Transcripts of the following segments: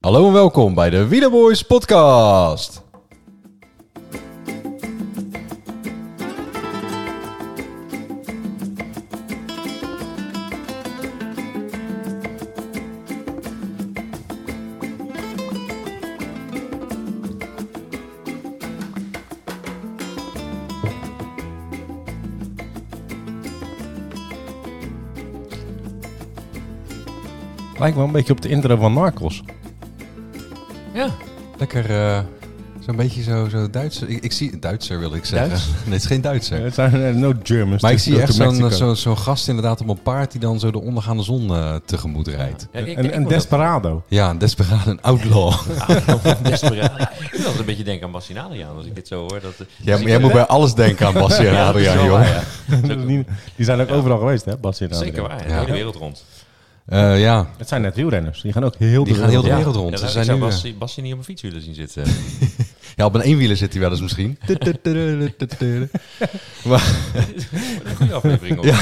Hallo en welkom bij de Wielerboys podcast. Lijkt wel een beetje op de intro van Marcos. Ja, lekker. eh, Zo'n beetje zo, zo Duitser. Ik, ik zie Duitser wil ik zeggen. Duits? Nee, het is geen Duitser. Het zijn eh, no Germans. maar ik zie echt zo'n zo, zo'n gast inderdaad op een paard die dan zo de ondergaande zon eh, tegemoet rijdt. Ja, ik- Een, ik een moet desperado. Ja, een desperado, een outlaw. ook- een desperado. Ik moet altijd een beetje denken aan Bassinaliaan als ik dit zo hoor. Dat, jij, jij moet bij alles denken aan Basje en dat is Adriaan, wel joh. waar, ja. Die, die zijn ook overal geweest, hè? Bas en Zeker Adriaan. waar, Ja. de hele wereld rond. Eh, ja, Het zijn net wielrenners. Die gaan ook heel Die de gaan heel de wereld wereld rond. Ja, Ze zijn daar- ik zou nu, eh, Bassi, Bassi niet op een fiets willen zien zitten. ja, op een eenwieler zit hij wel eens misschien. Een goede aflevering. hoor. Ja.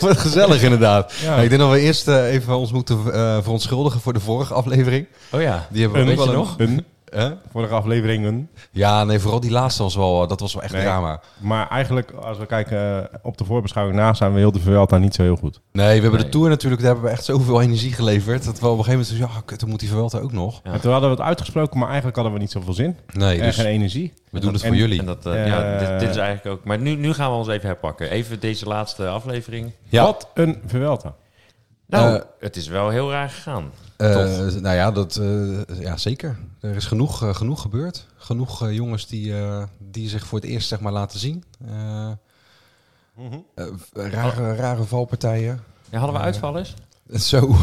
Wat gezellig inderdaad. Ja. Ik denk dat we eerst eh, even ons moeten eh, verontschuldigen voor de vorige aflevering. Oh ja, Die hebben we Een- ook wel een- Een, Hè? vorige afleveringen. Ja, nee, vooral die laatste was wel, eh, dat was wel echt Nee. drama. Maar eigenlijk, als we kijken eh, op de voorbeschouwing na, zijn we heel de Vuelta niet zo heel goed. Nee, we hebben de Nee. Tour natuurlijk, daar hebben we echt zoveel energie geleverd. Dat we op een gegeven moment zeiden, ja, kut, dan moet die Vuelta ook nog. Ja. En toen hadden we het uitgesproken, maar eigenlijk hadden we niet zoveel zin. Nee, en dus geen energie. we doen het en- voor jullie. En dat, eh, Eh, ja dit, dit is eigenlijk ook... Maar nu, nu gaan we ons even herpakken. Even deze laatste aflevering. ja, Wat een Vuelta. Nou, Eh, het is wel heel raar gegaan. eh, tof. nou ja, dat, eh, ja, zeker. Er is genoeg, eh, genoeg gebeurd. Genoeg eh, jongens die, eh, die zich voor het eerst zeg maar, laten zien. Mhm. Eh, eh, rare, rare valpartijen. Ja, hadden we Eh, uitvallers? Zo,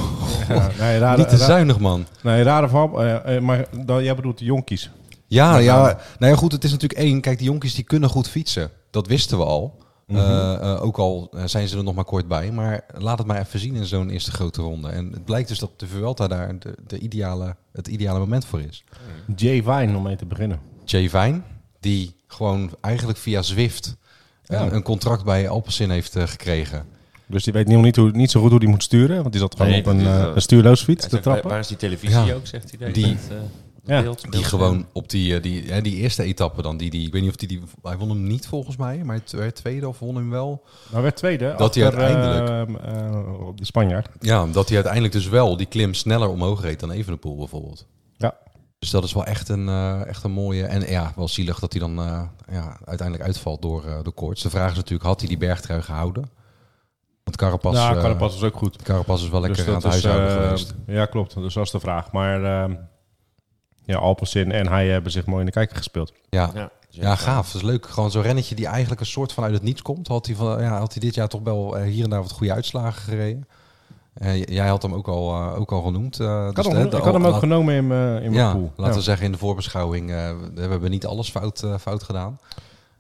Ja, Eh, nee, rare, niet te ra- zuinig, man. nee, rare val. eh, eh, maar dan, jij bedoelt de jonkies. Ja, Met ja, name. nou ja, goed, het is natuurlijk één. Kijk, die jonkies die kunnen goed fietsen. Dat wisten we al. Mhm. Eh, eh, ook al eh, zijn ze er nog maar kort bij. Maar laat het maar even zien in zo'n eerste grote ronde. En het blijkt dus dat de Vuelta daar de, de ideale, het ideale moment voor is. Jay Vine, om mee te beginnen. Jay Vine, die gewoon eigenlijk via Zwift eh, Ja. een contract bij Alpecin heeft eh, gekregen. Dus die weet nog niet, hoe, niet zo goed hoe die moet sturen. Want die zat gewoon Nee, op een, dat is, eh, eh, een stuurloos fiets Ja, te zeg, waar, trappen. waar is die televisie Ja. ook, zegt hij. daar? Die- Dat, eh, Ja. beeld- Die beeld- gewoon op die, eh, die, hè, die eerste etappe dan. Die, die, ik weet niet of die, die... Hij won hem niet volgens mij, maar het werd tweede of won hem wel. Maar werd tweede. Dat hij achter, uiteindelijk- ehm, eh, de Spanjaard. Ja, dat hij uiteindelijk dus wel die klim sneller omhoog reed dan Evenepoel bijvoorbeeld. Ja. Dus dat is wel echt een, eh, echt een mooie... En ja, wel zielig dat hij dan eh, ja, uiteindelijk uitvalt door, eh door koorts. De vraag is natuurlijk, had hij die bergtrui gehouden? Want Carapaz, ja, eh, Nou, Carapaz was ook goed. Carapaz is wel lekker Dus aan het dat is, huishouden eh, geweest. Ja, klopt. Dus dat is de vraag. Maar ehm, ja, Alpecin en hij hebben zich mooi in de kijker gespeeld. Ja. Ja, ja, zeker. gaaf. Dat is leuk. Gewoon zo'n rennetje die eigenlijk een soort van uit het niets komt. Had hij, van, ja, had hij dit jaar toch wel eh, hier en daar wat goede uitslagen gereden. Eh, j- jij had hem ook al, eh, ook al genoemd. eh, Ik had, dus hem, de- de- ik had hem al- ook genomen in, mijn- in mijn ja, pool. laten we Ja. zeggen in de voorbeschouwing, eh, we we hebben niet alles fout, eh, fout gedaan.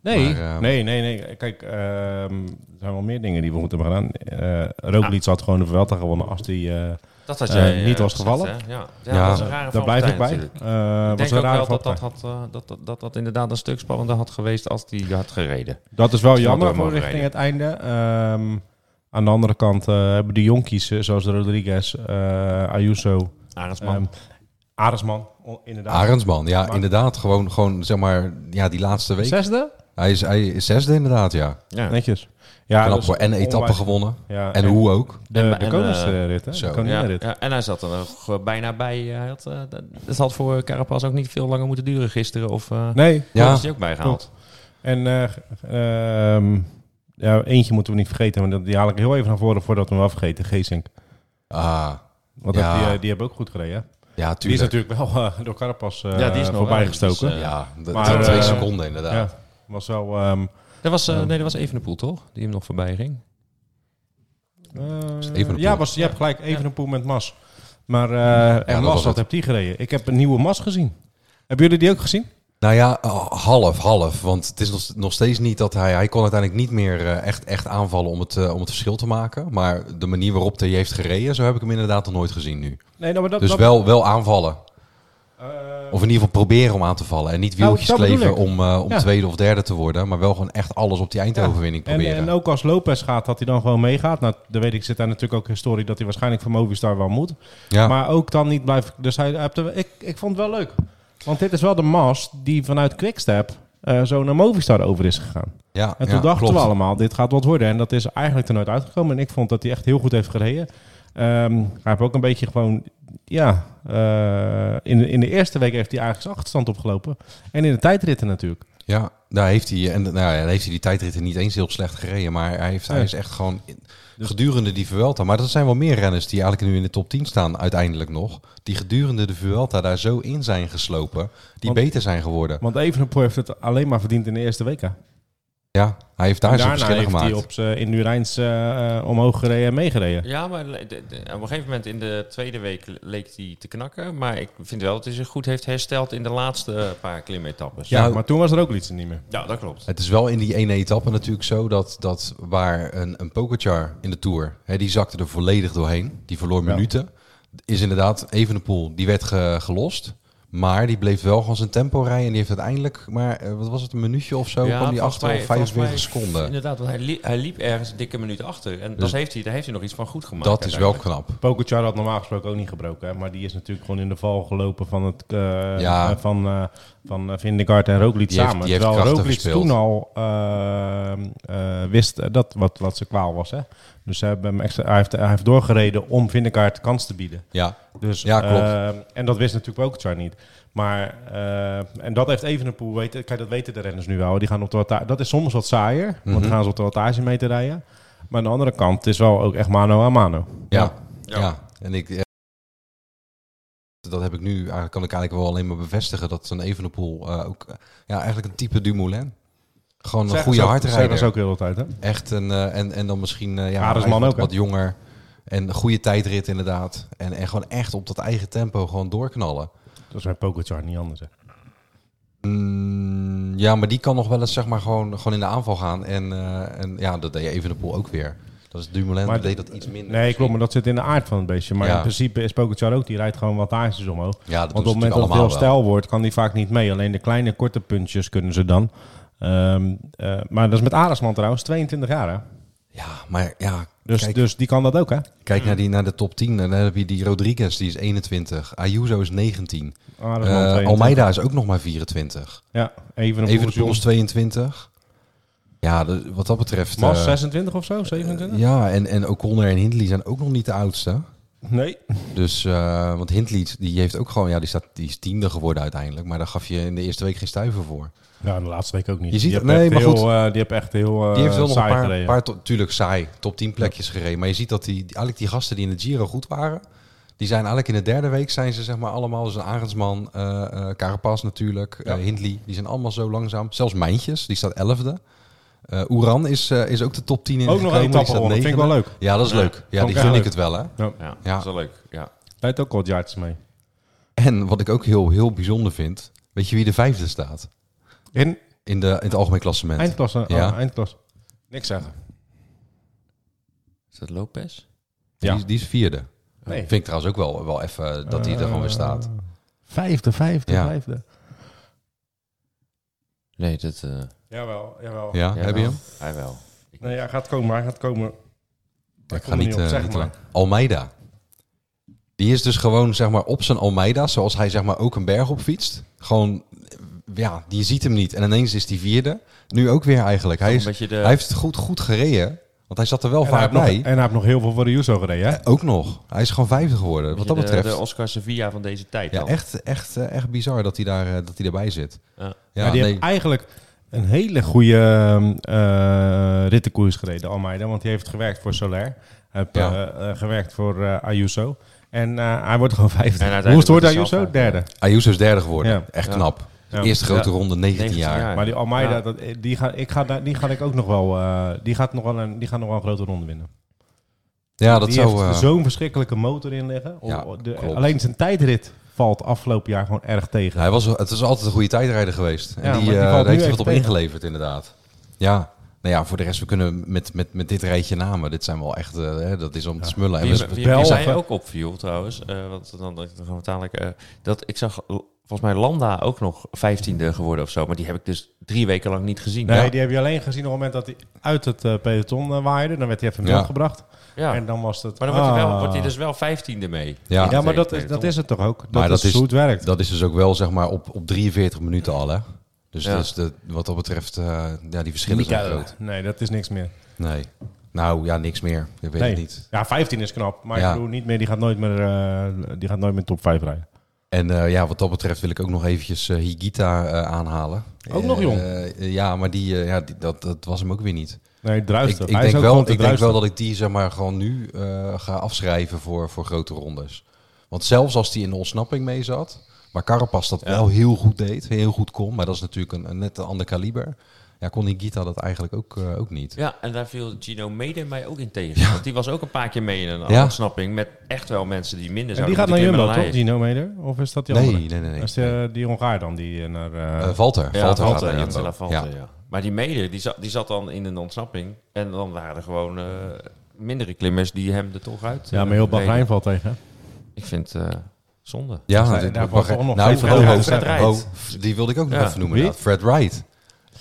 Nee. Maar, ehm, eh, nee, nee, nee. Kijk, ehm, er zijn wel meer dingen die we goed hebben gedaan. Eh Roglic had gewoon de Vuelta gewonnen als die... eh, Dat had Eh, jij niet eh, was gezegd, gevallen. hè? Ja, ja, Ja, dat is een rare daar blijf ik valpartij bij. natuurlijk. Eh, was Ik denk een ook rare wel dat valpartij. dat, had, eh, dat, dat, dat dat inderdaad een stuk spannender had geweest als die had gereden. Dat is wel Ze hadden jammer hem voor mogen richting het einde. Ehm, aan de andere kant eh, hebben die jonkies eh, zoals Rodriguez, eh Ayuso, Arendsman. ehm Aresman, o- inderdaad. Arendsman, ja, Maar- inderdaad. Gewoon, gewoon zeg maar, ja, die laatste week. Zesde? Hij, is, hij is zesde inderdaad, ja. ja. Netjes. Ja, Knap dat is hoor. En etappe onwijs- gewonnen. Ja, En hoe ook. De, En- de en, koningsrit, hè? zo. De Ja, koninginrit. ja, en hij zat er nog eh, bijna bij. Hij had, eh, dat, dat had voor Carapaz ook niet veel langer moeten duren gisteren. Of eh Nee, Ja. was hij ook bijgehaald. en eh, g- ehm, ja, eentje moeten we niet vergeten, maar dat- die haal ik heel even naar voren voordat we hem afgeten, Geesink. Ah, Want Ja. die, eh, die hebben ook goed gereden. hè? ja, Die is tuurlijk. natuurlijk wel eh, door Carapas eh Ja, die is nog voorbij uit, gestoken. dus, eh, ja, dat- Maar, dat twee eh, seconden inderdaad. ja, was wel... ehm, Dat was, eh, nee, dat was Evenepoel, toch? Die hem nog voorbij ging. Eh, Evenepoel? ja, was, je hebt gelijk even een poel met Mas. Maar eh dat en was Mas, het. wat hebt die gereden? Ik heb een nieuwe Mas gezien. Hebben jullie die ook gezien? Nou ja, oh, half, half. Want het is nog- nog steeds niet dat hij... Hij kon uiteindelijk niet meer eh, echt, echt aanvallen om het, eh, om het verschil te maken. Maar de manier waarop hij heeft gereden, zo heb ik hem inderdaad nog nooit gezien nu. Nee, nou, maar dat, Dus dat- wel, wel aanvallen. eh, Dus Of in ieder geval proberen om aan te vallen. En niet wieltjes Nou, dat bedoel kleven om, eh, om Ja. tweede of derde te worden. Maar wel gewoon echt alles op die eindoverwinning En, proberen. en ook als Lopez gaat, dat hij dan gewoon meegaat. Nou, dan weet ik, zit daar natuurlijk ook historie dat hij waarschijnlijk voor Movistar wel moet. ja. Maar ook dan niet blijven. Dus hij, hij heeft er- ik, ik vond het wel leuk. Want dit is wel de mast die vanuit Quickstep eh zo naar Movistar over is gegaan. ja, En ja, toen dachten klopt. we allemaal, dit gaat wat worden. En dat is eigenlijk er nooit uitgekomen. En ik vond dat hij echt heel goed heeft gereden. Ehm, hij heeft ook een beetje gewoon... Ja, eh, in, de, in de eerste week heeft hij eigenlijk zijn achterstand opgelopen. En in de tijdritten natuurlijk. Ja, daar heeft hij, en, nou, ja, daar heeft hij die tijdritten niet eens heel slecht gereden. Maar hij, heeft, hij Nee. Dus- is echt gewoon in- gedurende die Vuelta. Maar er zijn wel meer renners die eigenlijk nu in de top 10 staan uiteindelijk nog. Die gedurende de Vuelta daar zo in zijn geslopen. Die Want- beter zijn geworden. Want Evenepoel heeft het alleen maar verdiend in de eerste week. hè. Ja, hij heeft En daar zijn daarna verschillen heeft hij gemaakt. op z'n- in Nurijns eh, eh, omhoog gereden en meegereden. Ja, maar le- de- de- op een gegeven moment in de tweede week le- leek hij te knakken. Maar ik vind wel dat hij zich goed heeft hersteld in de laatste eh, paar klimetappes. Ja, Nou- maar toen was er ook iets niet meer. ja dat klopt. Het is wel in die ene etappe natuurlijk zo dat, dat waar een, een Pogacar in de Tour, hè, die zakte er volledig doorheen. Die verloor Ja. minuten. Is inderdaad Evenepoel, die werd ge- gelost. Maar die bleef wel gewoon zijn tempo rijden. En die heeft uiteindelijk, maar eh, wat was het, een minuutje of zo, Ja, kwam die volgens achter mij- op volgens 45 mij- seconden. Inderdaad, want hij, li- hij liep ergens een dikke minuut achter. En Dus- dat heeft hij, daar heeft hij nog iets van goed gemaakt. Dat is wel uiteindelijk. knap. Pogacar had normaal gesproken ook niet gebroken. Hè? Maar die is natuurlijk gewoon in de val gelopen van, het, eh, Ja. eh, van, eh van eh, Vindegaard en Roglic Die heeft- samen. die heeft Terwijl krachten Roglic verspeeld. toen al eh, eh, wist eh, dat wat, wat zijn kwaal was. Hè? Dus ze hebben hem extra, hij, heeft, hij heeft doorgereden om Vindegaard kans te bieden. Ja, Dus, Ja, klopt. eh, en dat wist natuurlijk Pogacar niet. Maar, eh, en dat heeft Evenepoel weten. Kijk, dat weten de renners nu wel. Die gaan op de watta- dat is soms wat saaier, want Mhm. dan gaan ze op de wattage mee te rijden. Maar aan de andere kant, het is wel ook echt mano a mano. ja, ja. Ja. En ik... eh, dat heb ik nu, eigenlijk kan ik eigenlijk wel alleen maar bevestigen dat zo'n Evenepoel eh, ook, eh, ja, eigenlijk een type Dumoulin. Gewoon een Zeggen goede ze ook- hardrijder. Zeggen ze ook heel de tijd, hè? Echt een, eh, en, en dan misschien eh, ja, Aresman eigenlijk wat, ook, hè? wat jonger. En een goede tijdrit inderdaad. En, en gewoon echt op dat eigen tempo gewoon doorknallen. Dat is bij Pogacar niet anders. Hè. Mm, ja, maar die kan nog wel eens zeg maar gewoon, gewoon in de aanval gaan. En, eh, en ja, dat deed je even de pool ook weer. Dat is Dumoulin, Maar maar deed dat iets minder. Nee, misschien. klopt, maar dat zit in de aard van het beestje. Maar Ja. in principe is Pogacar ook, die rijdt gewoon wattages omhoog. Ja, dat Want op doen het ze moment natuurlijk dat het heel allemaal wel. stijl wordt, kan die vaak niet mee. Alleen de kleine, korte puntjes kunnen ze dan. Ehm, eh, maar dat is met Aresman trouwens, 22 jaar hè. Ja, maar ja, Dus, Hmm. kijk, dus die kan dat ook hè. kijk naar, die, naar de top 10. En dan heb je die Rodriguez, die is 21. Ayuso is 19. Aresman, Eh, 22. Almeida is ook nog maar 24. Ja, even een Even de Even 22. Ja, de- wat dat betreft... Mas eh, 26 of zo, 27? Ja, en, en O'Connor en Hindley zijn ook nog niet de oudste. Nee. Dus, eh, want Hindley die heeft ook gewoon, ja, die, staat, die is tiende geworden uiteindelijk. Maar daar gaf je in de eerste week geen stuiver voor. Ja, de laatste week ook niet. Je ziet- die nee, echt maar heel, goed. eh, die heeft echt heel eh Die heeft wel nog een saai paar, gereden. paar to- tuurlijk saai, top 10 plekjes gereden. Maar je ziet dat die, die- eigenlijk die gasten die in de Giro goed waren, die zijn eigenlijk in de derde week zijn ze zeg maar allemaal, dus een Arendsman, eh eh, Carapaz natuurlijk, eh, Hindley, die zijn allemaal zo langzaam. Zelfs Mijntjes, die staat elfde. Eh Oeran is, eh, is ook de top 10 in Ook nog een etappe dat gewonnen, vind ik wel leuk. Ja, dat is Ja, leuk. Ja, vond die ik gun ik leuk. het wel hè. Ja, Ja. dat is wel leuk. Ja. Rijdt ook wat yards mee. En wat ik ook heel, heel bijzonder vind, weet je wie de vijfde staat In in, de, in het algemeen klassement? eindklasse. oh, Ja. eindklasse. Niks zeggen. Is dat Lopez? Die, Ja. is, die is vierde. Nee. Eh, Vind ik trouwens ook wel, wel even dat hij er gewoon weer staat. Vijfde, vijfde, Ja. vijfde. Nee, dat... eh Jawel, jawel. Ja, jij Ah, heb je wel? hem? Hij wel. Nee, hij gaat komen, hij gaat komen. Ik kom ga er niet, niet op, eh, zeg niet maar. lang. Almeida. Die is dus gewoon zeg maar, op zijn Almeida, zoals hij zeg maar, ook een berg op fietst. Gewoon, eh, ja, je ziet hem niet. En ineens is die vierde. Nu ook weer eigenlijk. Hij, Een is, beetje de... hij heeft het goed, goed gereden, want Oh, hij zat er wel en, hij vaak heeft nog, bij. en hij heeft nog heel veel voor de Juso gereden, hè? Eh, Ook nog. Hij is gewoon vijfde geworden, wat beetje dat betreft. De, de Oscar Sevilla van deze tijd. Ja, dan. echt, echt, eh, echt bizar dat hij, daar, eh, dat hij daarbij zit. Ja. Ja, die heeft eigenlijk een hele goede eh, rittenkoers gereden, Almeida. Want die heeft gewerkt voor Soler. Hij heeft Ja. eh, eh, gewerkt voor eh, Ayuso. En eh, hij wordt gewoon vijfde. En uiteindelijk Hoe is het wordt wordt hij Ayuso? zelf Derde. Ayuso is derde geworden. Ja. Echt Ja. knap. Ja. Eerste grote Ja. ronde, 19, 19 jaar. jaar. Maar die Almeida, Ja. dat, eh, die, ga, ik ga, daar- die ga ik ook nog wel... eh, die, gaat nog wel een, die gaat nog wel een grote ronde winnen. Ja, dat die zou... heeft eh, zo'n verschrikkelijke motor in liggen. Ja, O- de- klopt. alleen zijn tijdrit valt afgelopen jaar gewoon erg tegen. hij was, het is altijd een goede tijdrijder geweest. En Ja, die, maar die eh, valt daar heeft nu hij even wat op tegen. ingeleverd, inderdaad. Ja. Nou ja, voor de rest, we kunnen met, met, met dit rijtje namen. Dit zijn wel echt... eh, hè, dat is om te smullen. En Wie, we- wie, wie Belgen. mij ook opviel trouwens, eh, want dan, dan gaan we het dadelijk, eh, dat ik zag volgens mij Landa ook nog vijftiende geworden of zo. Maar die heb ik dus drie weken lang niet gezien. Nee, ja. die heb je alleen gezien op het moment dat hij uit het eh, peloton eh, waaide. Dan werd hij even in Ja. beeld gebracht. Ja. En dan was het... Maar dan wordt hij, wel, ah. wordt hij dus wel vijftiende mee. Ja. In het Ja, maar dat is, tweede dat peloton. is het toch ook? Dat, Maar is, dat is- hoe het werkt. Dat is dus ook wel zeg maar op, op 43 minuten al, hè? Dus Ja. dat is de, wat dat betreft, eh, ja, die verschillen zijn groot. Nee, dat is niks meer. Nee. Nou, ja, niks meer. Ik weet nee. het niet. Ja, 15 is knap. Maar Ja. ik bedoel, niet meer, die gaat nooit meer, eh, die gaat nooit meer top 5 rijden. En eh, ja, wat dat betreft wil ik ook nog eventjes eh, Higita eh, aanhalen. Ook nog Eh, jong? eh, ja, maar die, eh, ja, die- dat, dat was hem ook weer niet. Nee, Ik, druisten. ik, Hij is denk, ook wel, gewoon ik te denk wel druisten. dat ik die zeg maar gewoon nu eh, ga afschrijven voor, voor grote rondes. Want zelfs als die in de ontsnapping mee zat, waar Carapas dat wel heel goed deed, heel goed kon, maar dat is natuurlijk een, een net een ander kaliber. Ja, kon Higita dat eigenlijk ook, eh, ook niet. Ja, en daar viel Gino Mede mij ook in tegen. Want die was ook een paar keer mee in een Ja. ontsnapping met echt wel mensen die minder En zijn. die gaat naar Jumbo, toch? Gino Meder? Of is dat die Nee, andere? nee, nee. nee. Dat is die, eh, die Hongaar dan, die eh, naar... eh, Eh, Valter. Ja, Valter gaat Valter, naar ja, Jumbo. Tella Valter, ja. Maar die Mede, die zat, die zat dan in een ontsnapping. En dan waren er gewoon eh, mindere klimmers die hem er toch uit... ja, eh, maar heel reden. Bahrein valt tegen. hè? Ik vind eh zonde. Ja, Dus dat- daar- dat daar mag valt ik- nog nou, geen Fred, vraag Ho- over. Fred Fred Ho- Wright. F- die wilde ik ook nog Ja. even noemen. Wie? inderdaad. Fred Wright.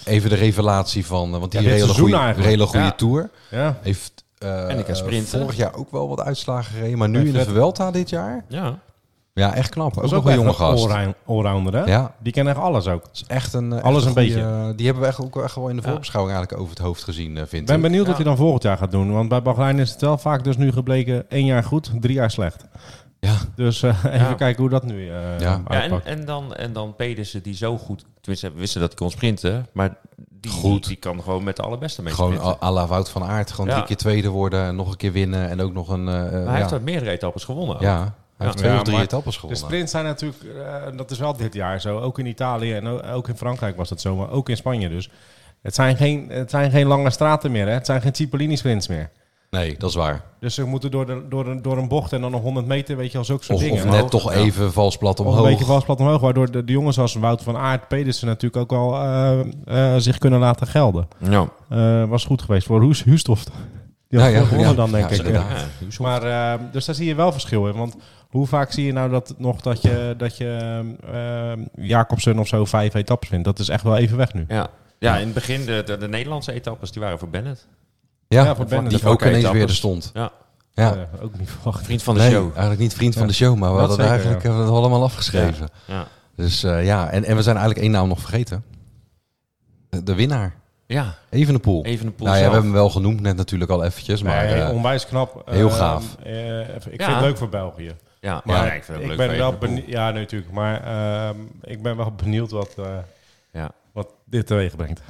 Even de revelatie van, eh, want die Ja, dit reed een seizoen hele goede, eigenlijk. hele goede Ja. tour. Ja. Heeft eh, En die kan eh, sprinten. vorig jaar ook wel wat uitslagen gereden, maar nu Nee, in de Fred- Vuelta dit jaar. Ja. Ja, echt knap. Ook Dat is nog ook een echt jonge een gast. allround- allrounder, hè? Ja, Die kennen echt alles ook. is echt een eh, echt Alles een goeie- Die hebben we echt ook echt wel in de voorbeschouwing eigenlijk over het hoofd gezien, eh, Ik vind ben ik. benieuwd Ja. wat hij dan volgend jaar gaat doen. Want bij Bahrein is het wel vaak dus nu gebleken één jaar goed, drie jaar slecht. Ja. Dus eh, even Ja. kijken hoe dat nu eh, Ja. Ja, en, uitpakt. en dan, en dan Pedersen die zo goed... Tenminste, we wisten dat hij kon sprinten. Maar die, Goed. die kan gewoon met de allerbeste mee Gewoon sprinten. à à la Wout van Aert. Gewoon Ja. drie keer tweede worden en nog een keer winnen. En ook nog een... eh, maar eh, hij heeft ja. uit meerdere etappes gewonnen. ook. ja, hij heeft twee Ja, of drie maar etappes De gewonnen. sprints Dus zijn natuurlijk, eh, dat is wel dit jaar zo. Ook in Italië en o- ook in Frankrijk was dat zo, maar ook in Spanje dus. Het zijn geen, het zijn geen lange straten meer, hè? het zijn geen Cipollini-sprints meer. Nee, dat is waar. Dus ze moeten door, de, door, een, door een bocht en dan nog 100 meter, weet je wel, zulke soort Of, dingen. of net toch even vals plat Of een omhoog. beetje vast plat omhoog, waardoor de, de jongens als Wouter van Aert, Pedersen natuurlijk ook al eh, eh, zich kunnen laten gelden. Ja. Eh, was goed geweest voor Hoes, Huustoft. Die had Ja, ja, gewonnen ja. dan, denk Ja, ik. inderdaad. Ja. Maar, eh, dus daar zie je wel verschil in. Want hoe vaak zie je nou dat, nog dat je, dat je eh, Jacobsen of zo vijf etappes wint? Dat is echt wel even weg nu. Ja. ja, in het begin de, de, de Nederlandse etappes die waren voor Bennett. Ja, Ja, voor Bennett. die Voor ook ineens etappes. weer er stond. Ja. Ja. Eh, ook niet verwacht. Vriend van de nee, show. eigenlijk niet vriend van Ja. de show, maar we Dat hadden zeker, eigenlijk ja. hebben we het allemaal afgeschreven. Ja. Dus eh, ja, en, en we zijn eigenlijk één naam nog vergeten. De, de winnaar. ja, Evenepoel. even een poel Nou ja, we zelf. hebben hem wel genoemd net natuurlijk al eventjes, maar Maar, eh, onwijs knap. heel Eh, gaaf. eh, ik vind Ja. het leuk voor België. Ja, Maar ja, ik vind het leuk Ah, ben voor wel Evenepoel. benieuwd. Ja, nee, natuurlijk. Maar ehm, ik ben wel benieuwd wat, eh, Ja. wat dit teweeg brengt.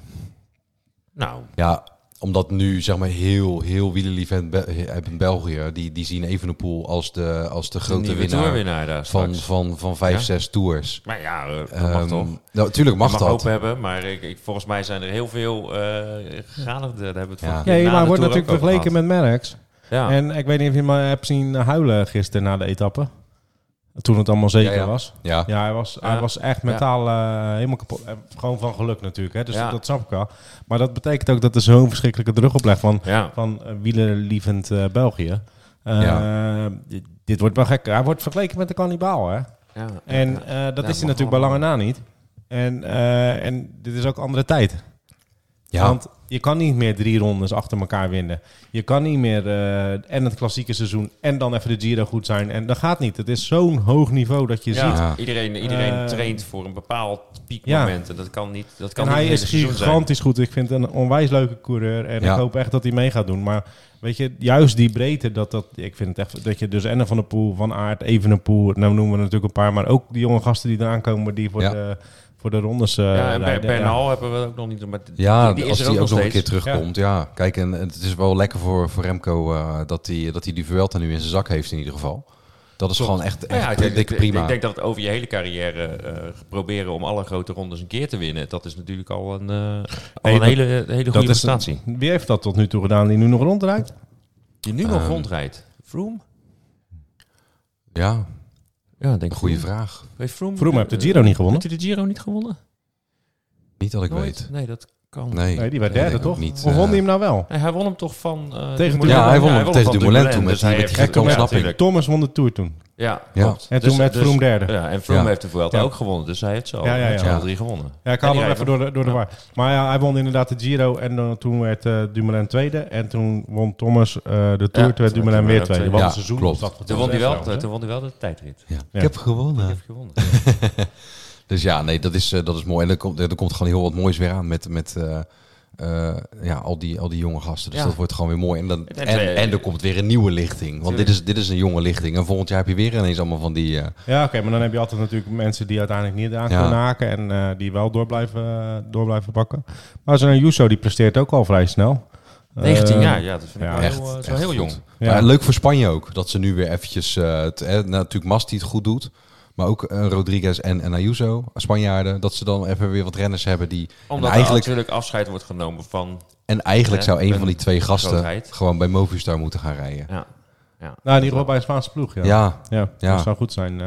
Nou, ja, omdat nu zeg maar heel, heel wielerliefhebben Be- hebben België, die, die zien Evenepoel als de, als de grote grote nieuwe winnaar toerwinnaar daar van, straks. van, van vijf, Ja. zes tours. Maar ja, eh, dat mag Ehm, toch? Nou, tuurlijk mag, mag dat. hoop hebben, maar ik, ik, volgens mij zijn er heel veel eh gegadigden. Daar hebben we het Ja. vorige Ja, keer na maar de wordt Tour natuurlijk ook Ah. over vergeleken met Merckx. gehad. Ja. En ik weet niet of je me hebt zien huilen gisteren na de etappe. Toen het allemaal zeker Ja, ja. was. Ja. Ja, hij was, Ja. Hij was echt mentaal eh, helemaal kapot. Eh, Gewoon van geluk natuurlijk. Hè? Dus Ja. dat snap ik wel. Maar dat betekent ook dat er zo'n verschrikkelijke druk op legt van, ja. van eh, wielerlievend eh, België. Eh, dit, dit wordt wel gek. Hij wordt vergeleken met de kannibaal, hè? ja. En Ja. eh, dat Ja, is hij mag natuurlijk bij lange eh, allemaal. na niet. En, eh, en dit is ook andere tijd. Ja. Want je kan niet meer drie rondes achter elkaar winnen. Je kan niet meer eh, en het klassieke seizoen en dan even de Giro goed zijn. En dat gaat niet. Het is zo'n hoog niveau dat je Ja, ziet. Ja. Iedereen, iedereen Eh, traint voor een bepaald piekmoment. En dat kan niet. Dat kan en niet hij het is hele seizoen zijn. gigantisch goed. Ik vind het een onwijs leuke coureur. En Ja. ik hoop echt dat hij mee gaat doen. Maar weet je, juist die breedte, dat, dat, ik vind het echt dat je dus Enne van der Poel, Van Aert, Evenepoel, nou noemen we er natuurlijk een paar. Maar ook die jonge gasten die eraan komen, die voor, Ja. de, voor de rondes eh, Ja, en Ber- rijden. Ja. Bernal hebben we ook nog niet. Maar die- Ja, die als is er die ook nog, een keer steeds. terugkomt. Ja, kijk, en het is wel lekker voor, voor Remco eh, dat hij dat hij die Vuelta nu in zijn zak heeft in ieder geval. Dat is gewoon echt, Nou echt ja, ik, denk- dikke ik- prima. ik denk dat het over je hele carrière eh, proberen om alle grote rondes een keer te winnen. Dat is natuurlijk al een, eh, al Nee, een dat- hele, hele goede Dat is prestatie. een- wie heeft dat tot nu toe gedaan die nu nog rondrijdt? Die nu Ehm, nog rondrijdt. Vroom? ja, Ja, denk een goede vraag. Heeft Vroom, Vroom heeft de eh, Giro niet gewonnen. Heeft hij de Giro niet gewonnen? Niet dat ik Nooit? weet. Nee, dat gekomen. Nee, Nee, die werd dat derde, denk ik ook toch? niet, of won eh, hij hem nou wel? Nee, hij won hem toch van... eh, Tegen Dumoulin? Ja, hij won hem tegen van Dumoulin Dumoulin, toen met dus hij die- met die heeft- gekke ja, ontsnapping. natuurlijk. Thomas won de Tour toen. Ja, Ja. klopt. En toen Dus- werd dus- Vroom derde. Ja, en Vroom Ja. heeft de Vuelta Ja. ook gewonnen. Dus hij heeft zo Ja, ja, met ja. z'n Ja. drie gewonnen. Ja, ik En haal die hem rijdt even door de, door de Ja. war. Maar ja, hij won inderdaad de Giro en dan, toen werd eh Dumoulin tweede. En toen won Thomas eh, de Tour, toen toen werd Dumoulin weer werd tweede. Dumoulin tweede. Wat Ja, een seizoen klopt. was dat voor Toen won, hij Thomas wel, trouwens, hè? toen won hij wel de tijdrit. Ja. Ja. Ik heb Ik gewonnen. heb gewonnen. Dus ja, nee, dat is, eh, dat is mooi. En er komt, er komt gewoon heel wat moois weer aan met, met eh, eh, ja, al, die, al die jonge gasten. Dus Ja. dat wordt gewoon weer mooi. En, dan, En- en, en, eh, er komt weer een nieuwe lichting. Want dit is, dit is een jonge lichting. En volgend jaar heb je weer ineens allemaal van die... eh, Ja, oké, maar dan heb je altijd natuurlijk mensen die uiteindelijk niet aan Ja. kunnen haken en eh, die wel door blijven, eh, door blijven bakken. Maar zo'n Yuso die presteert ook al vrij snel. 19 Eh, jaar, ja, dat vind ik ja, wel echt, heel, eh, zo echt heel goed. jong. Ja. Maar leuk voor Spanje ook. Dat ze nu weer eventjes... eh, het, eh, nou, natuurlijk Mas die het goed doet. Maar ook eh, Rodriguez en, en Ayuso, Spanjaarden. Dat ze dan even weer wat renners hebben die... Omdat en eigenlijk, er natuurlijk afscheid wordt genomen van... en eigenlijk hè, zou een een van die twee gasten grootheid. gewoon bij Movistar moeten gaan rijden. Ja, ja. Nou, in ieder geval bij een Spaanse ploeg, ja. Ja, ja. Ja, Ja. dat zou goed zijn. eh. Maar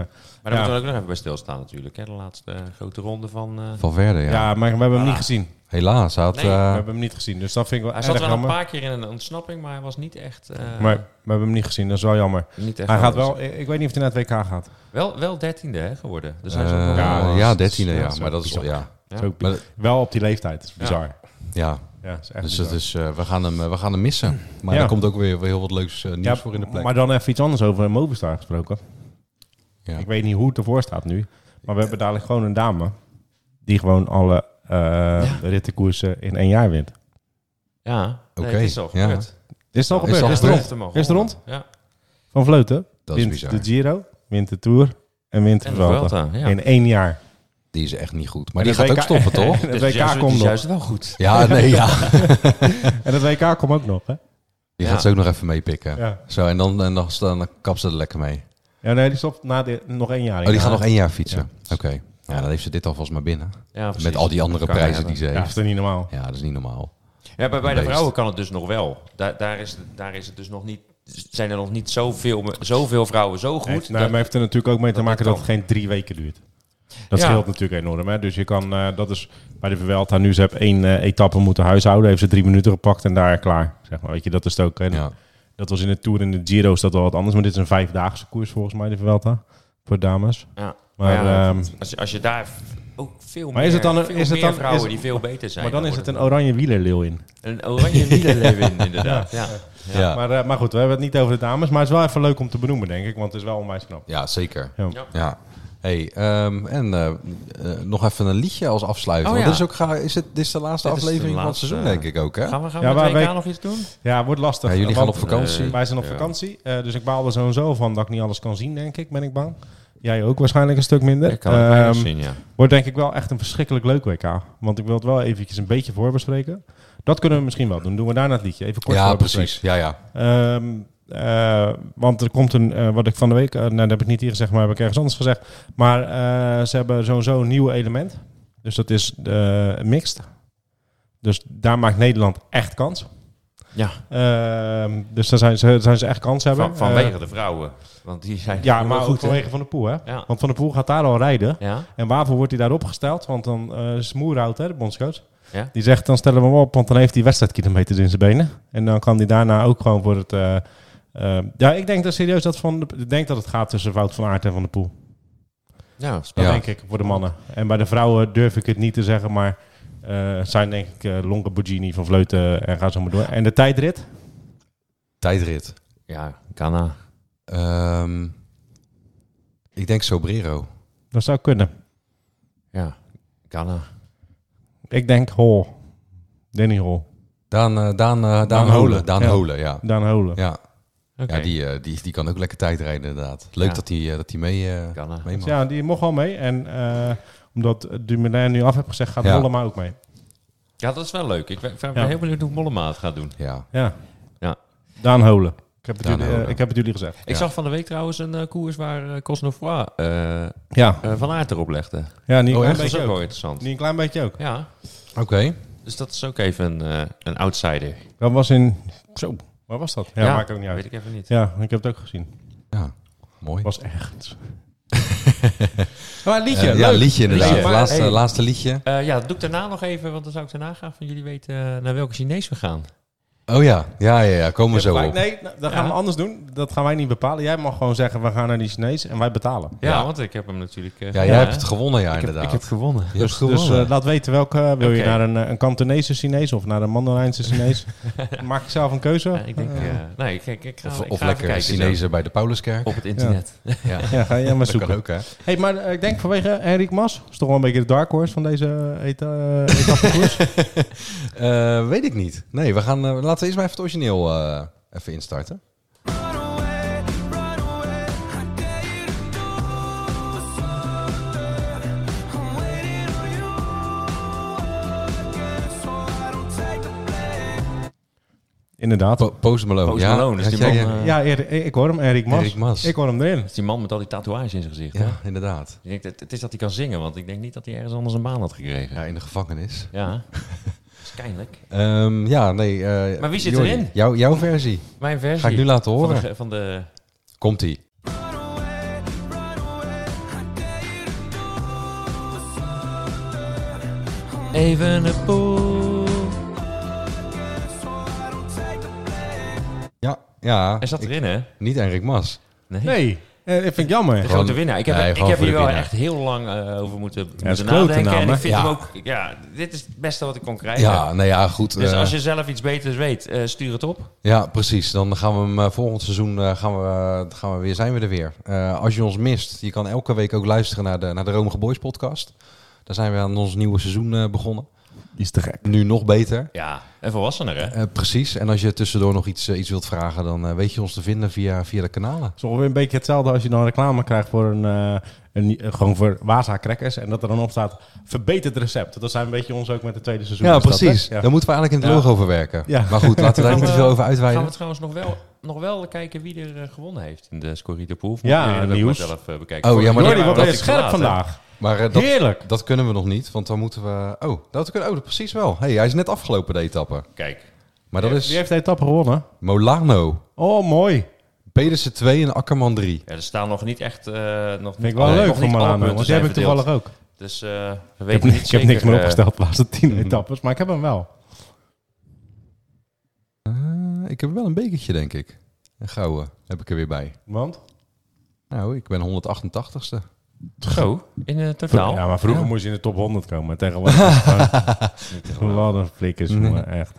daar Ja. moeten we ook nog even bij stilstaan natuurlijk. Hè? De laatste eh, grote ronde van... eh, Valverde, ja. ja. maar we hebben hem Ah. niet gezien. Helaas, hij had... Nee. eh, We hebben hem niet gezien, dus dat vind ik wel hij erg zat wel een jammer. paar keer in een ontsnapping, maar hij was niet echt... eh, Maar we hebben hem niet gezien, dat is wel jammer. niet echt Hij gaat anders. wel, ik ik weet niet of hij naar het WK gaat. Wel, wel dertiende hè, geworden. Dus hij is ook Eh, wel- Ja, ja, dat is- 13e, dat ja. is Maar dat is bizar. toch, ja. Ja. Dat is ook Maar- bi- wel op die leeftijd, dat is bizar. ja. Ja, dat is echt Dus bizar. dat is, eh, we, gaan hem, eh, we gaan hem missen. Maar Ja. er komt ook weer, weer heel wat leuks eh, nieuws Ja, voor in de plek. Maar dan even iets anders over Movistar gesproken. Ja. Ik weet niet hoe het ervoor staat nu. Maar we hebben dadelijk gewoon een dame die gewoon alle eh rittenkoersen in één jaar wint. Ja, nee, Oké, het is al ja. gebeurd. Dit is al Is gebeurd. al Dit is gebeurd. rond. Is het rond? Ja. Van Vleuten dat is wint bizar. de Giro, wint de Tour en wint de En de Vuelta. Vuelta, ja. In één jaar. Die is echt niet goed. Maar En die gaat het ook WK stoppen, toch? En het Dus juist- WK komt dus nog. juist wel goed. Ja, nee, ja. En het WK komt ook nog, hè? Die Ja. gaat ze ook nog even meepikken. Ja. Zo, en dan, en dan, dan kapt ze er lekker mee. Ja, nee, die stopt na de, nog één jaar. Oh, die Ja. gaat nog één jaar fietsen. Oké. Ja, dan heeft ze dit alvast maar binnen. Ja, precies. Met al die andere Dat kan prijzen hebben. die ze Ja, dat is heeft. toch niet normaal. Ja, dat is niet normaal. Ja, bij, bij de Beest. vrouwen kan het dus nog wel. Daar, daar, is, daar is het dus nog niet, zijn er nog niet zoveel, me- zoveel vrouwen zo goed. Nee, nou, dat- maar heeft er natuurlijk ook mee te dat maken dit dat het geen drie weken duurt. Dat Ja. scheelt natuurlijk enorm. Hè? Dus je kan, eh, dat is bij de Vuelta nu, ze hebben één eh, etappe moeten huishouden. Heeft ze drie minuten gepakt en daar klaar. Zeg maar, weet je, dat is het ook. En Ja. Dat was in de Tour en de Giro is dat wel wat anders. Maar dit is een vijfdaagse koers volgens mij, de Vuelta. Voor dames. ja. Maar, Maar ja, ehm, als, je- als je daar v- ook veel Maar meer, is het dan een- veel is het meer dan- vrouwen is- die veel beter zijn. maar dan is het wordt een oranje wielerleeuw in. een oranje wielerleeuwin inderdaad. Ja. Ja. Ja. Maar, eh, maar goed, we hebben het niet over de dames. Maar het is wel even leuk om te benoemen, denk ik. Want het is wel onwijs knap. zeker. Ja. Ja. Ja. Hey, ehm, en eh, eh, nog even een liedje als afsluiting. Oh, Want ja. dit is, ook, ga- is het, dit is de laatste Dit is de aflevering van het laatste, seizoen, eh, denk ik ook. Hè? Gaan we, gaan Ja, we maar met WK wij- nog iets doen? Ja, wordt lastig. eh, Ja, jullie gaan Want- op vakantie. Nee. Wij zijn op Ja. vakantie, eh, dus ik baal er zo en zo van dat ik niet alles kan zien, denk ik, ben ik bang. Jij ook waarschijnlijk een stuk minder. Ik kan het bijna Ehm, zien, ja. Wordt denk ik wel echt een verschrikkelijk leuk WK. Want ik wil het wel eventjes een beetje voorbespreken. Dat kunnen we misschien wel doen. Doen we daarna het liedje. Even kort Ja, voorbespreken. precies. Ja, ja. Ehm, eh, want er komt een, eh, wat ik van de week, eh, nou dat heb ik niet hier gezegd, maar heb ik ergens anders gezegd. Maar eh, ze hebben sowieso een nieuw element. Dus dat is eh mixed. Dus daar maakt Nederland echt kans. Ja. Ehm, dus daar zijn ze, daar zijn ze echt kans hebben. eh, Van, vanwege de vrouwen. Want die zijn ja, maar goed, ook vanwege Van der Poel, hè? Ja. Want Van der Poel gaat daar al rijden. Ja? En waarvoor wordt hij daar opgesteld? Want dan eh is Moerhout, hè, de bondscoach. Ja. Die zegt, dan stellen we hem op, want dan heeft hij wedstrijdkilometers in zijn benen. En dan kan hij daarna ook gewoon voor het... eh, eh, ja, ik denk dat serieus dat van... de- ik denk dat het gaat tussen Wout van Aert en Van der Poel. Ja, Dat Ja. denk ik, voor de mannen. En bij de vrouwen durf ik het niet te zeggen, maar... eh, het zijn denk ik eh Lonke, Bugini, Van Vleuten en ga zo maar door. En de tijdrit? Tijdrit. ja Ghana. Ehm, ik denk Sobrero. Dat zou kunnen. Ja, Ghana. Ik denk Hol. Danny Hol. Daan, eh, Daan, eh, Daan, Daan Holen. Holen. Daan Ja. Holen, ja. Daan Holen. Ja, Oké. ja die, eh, die, die kan ook lekker tijd rijden inderdaad. Leuk Ja. dat hij eh, dat hij mee, eh, Ghana. mee mag. Ja, die mocht al mee. En eh, omdat Dumoulin nu af heeft gezegd, gaat Ja. Hollema ook mee. Ja, dat is wel leuk. Ik ben, ik ben Ja. heel benieuwd hoe Mollema het gaat doen. Ja. Ja. Ja. Daan Holen. Ik heb het, Daan jullie, eh, Holen. ik heb het jullie gezegd. Ik zag van de week trouwens een eh, koers waar eh Cosnefroy eh, eh, Ja, Van Aert erop legde. ja niet, een Oh, echt? klein Dat is beetje ook ook. wel interessant. niet een klein beetje ook. Ja, Oké. dus dat is ook even een, eh, een outsider. Dat was in... Zo, waar was dat? Ja, maakt ook niet uit. Weet ik even niet. Ja, ik heb het ook gezien. Ja, mooi. Eh, Het was ergens. Oh, een liedje. ja, leuk. liedje inderdaad. Liedje. Laatste, Hey. laatste liedje. Eh, ja, dat doe ik daarna nog even, want dan zou ik daarna gaan van jullie weten eh, naar welke Chinees we gaan. Oh ja, ja, ja, ja komen we zo Maar op. Nee, nou, dat gaan we Ja. anders doen. Dat gaan wij niet bepalen. Jij mag gewoon zeggen, we gaan naar die Chinees en wij betalen. Ja, Ja. want ik heb hem natuurlijk... eh, Ja, jij gedaan, hebt hè? het gewonnen, ja, ik heb, inderdaad. ik heb gewonnen. Je hebt Dus, gewonnen. dus eh, laat weten welke. Wil je Oké. naar een, eh, een Kantonese Chinees of naar een Mandarijnse Chinees? Maak ik zelf een keuze. Ja, ik denk... eh, nee, ik, ik, ik ga, of ik of ga lekker even kijken, zo, Chinezen bij de Pauluskerk. Op het internet. Ja, Ja, ga jij maar dat kan dus. zoeken. ook, hè? Hey, maar eh, ik denk vanwege Henrik Mas, is toch wel een beetje de dark horse van deze eh, eta etappekoers. Eh, weet ik niet. Nee, we gaan, eh, laten we eerst maar even het origineel eh, even instarten. Inderdaad. Po Post Malone. Post ja, Malone, dus Had die jij- man, eh, ja, Erik- ik hoor hem, Henrik Mas. Henrik Mas. Ik hoor hem erin. Dat is die man met al die tatoeages in zijn gezicht. hè? ja, inderdaad. Ik denk, dat- het is dat hij kan zingen, want ik denk niet dat hij ergens anders een baan had gekregen. Ja, in de gevangenis. Ja, dat is pijnlijk. Ehm, ja, nee. eh, Maar wie zit Jordi, erin? Jouw, jouw versie. Mijn versie. Ga ik nu laten van de, horen. ge- van de... Komt-ie. Even een poel. Ja, ja. Hij zat ik- erin, hè? Niet Enrik Mas. Nee. Nee, eh, dat vind ik jammer. De Gewoon- grote winnaar. Ik heb, Nee, ik gewoon heb voor hier de wel winnaar. echt heel lang eh, over moeten, het is moeten klote nadenken. naam, en hè? ik vind Ja. hem ook... Ja, dit is het beste wat ik kon krijgen. Ja, nou ja, goed. Dus eh, als je zelf iets beters weet, eh, stuur het op. Ja, precies. Dan gaan we hem eh, volgend seizoen eh, gaan we, eh, gaan we weer, zijn we er weer. Eh, als je ons mist, je kan elke week ook luisteren naar de, naar de Romige Boys podcast. Daar zijn we aan ons nieuwe seizoen eh, begonnen. Die is te gek. Nu nog beter. Ja, en volwassener, hè? Eh, precies. En als je tussendoor nog iets, eh, iets wilt vragen, dan eh, weet je ons te vinden via, via de kanalen. Het is ongeveer een beetje hetzelfde als je dan reclame krijgt voor een, eh, een eh, gewoon voor Waza crackers en dat er dan op staat verbeterd recept. Dat zijn een beetje ons ook met het tweede seizoen. Ja, Is dat, hè? precies. Ja. Daar moeten we eigenlijk in het Ja. logo over werken. Ja. Maar goed, laten we daar Gaan niet te we- veel over uitweiden. Gaan we trouwens nog wel, nog wel kijken wie er eh, gewonnen heeft in de Scorita Pool? Of Ja, moet ik dat ook nieuws. maar zelf eh, bekijken? Oh, ja, maar Jordi, dat- dat wat ben je ik scherp laat, hè? vandaag. Maar eh, dat, Heerlijk. dat kunnen we nog niet, want dan moeten we... Oh, dat kunnen, oh dat precies wel. hey, hij is net afgelopen, de etappe. Kijk, Maar dat Wie is heeft de etappe gewonnen? Molano, Oh, mooi. Pedersen 2 en Akkerman 3. ja, er staan nog niet echt... eh nog Vind ik niet- wel leuk nog voor niet alle Milano, punten want die zijn heb ik verdeeld. toevallig ook. Dus eh, we Ik heb, weten niet ik heb zeker, niks meer eh, opgesteld de laatste tien etappes, maar ik heb hem wel. Eh, ik heb wel een bekertje, denk ik. Een gouden heb ik er weer bij. Want? Nou, ik ben 188ste. Zo, in eh, het Nou. totaal. Ja, maar vroeger Ja. moest je in de top 100 komen. Tegenwoordig. Wat een flikkers, jongen. Echt.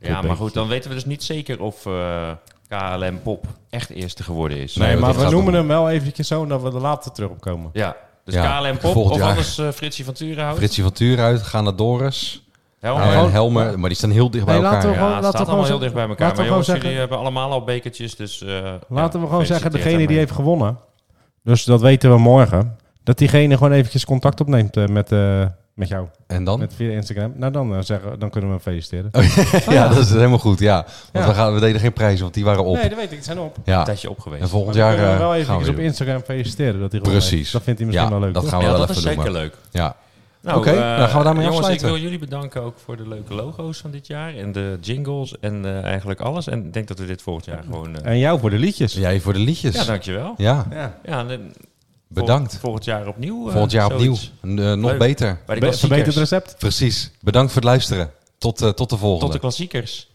Ja, maar goed, dan weten we dus niet zeker of eh, KLM Pop echt eerste geworden is. Nee, Nee, want maar dat we gaat noemen om- hem wel eventjes zo, dat we er later terug op komen. Ja, dus Ja, KLM Pop volgend of jaar. anders eh Fritsie van Turenhout. Fritsie van Tuur uit, gaan naar Doris. Helmer. Oh, Ja, en Helmer, maar die staan heel dicht bij Nee, elkaar. laten we ja. gewoon- Ja, het staat allemaal zeggen- heel dicht bij elkaar. laten we Maar jongens, gewoon jullie hebben allemaal al bekertjes, dus... eh, Laten ja, we gewoon zeggen, gefeliciteerd degene die daarmee. heeft gewonnen, dus dat weten we morgen, dat diegene gewoon eventjes contact opneemt eh, met, eh, met jou, En dan? met via Instagram. Nou, dan, eh, zeggen, dan kunnen we hem feliciteren. ja, dat is helemaal goed, ja. Want Ja. We, gaan, we deden geen prijzen, want die waren op. Nee, dat weet ik. Het zijn op. Een ja. tijdje op geweest. En volgend Maar jaar we kunnen hem eh, wel gaan eventjes we op weer. Instagram feliciteren dat hij gewonnen Precies. heeft. Dat vindt hij misschien Ja, wel leuk. dat toch? gaan we ja, wel dat even is doen, zeker maar- leuk. Ja. Nou, Oké, eh, dan gaan we daarmee jongens, afsluiten. ik wil jullie bedanken ook voor de leuke logo's van dit jaar. En de jingles en eh, eigenlijk alles. En ik denk dat we dit volgend jaar gewoon... eh, En jou voor de liedjes. Jij voor de liedjes. ja, dankjewel. Ja, Ja. Ja, en, eh, bedankt. Volgend, volgend jaar opnieuw. eh, Volgend jaar opnieuw. zoiets. En, eh, nog Leuk. beter. Bij Be- de klassiekers. Verbeterd recept. Precies. Bedankt voor het luisteren. Tot, eh, tot de volgende. Tot de klassiekers.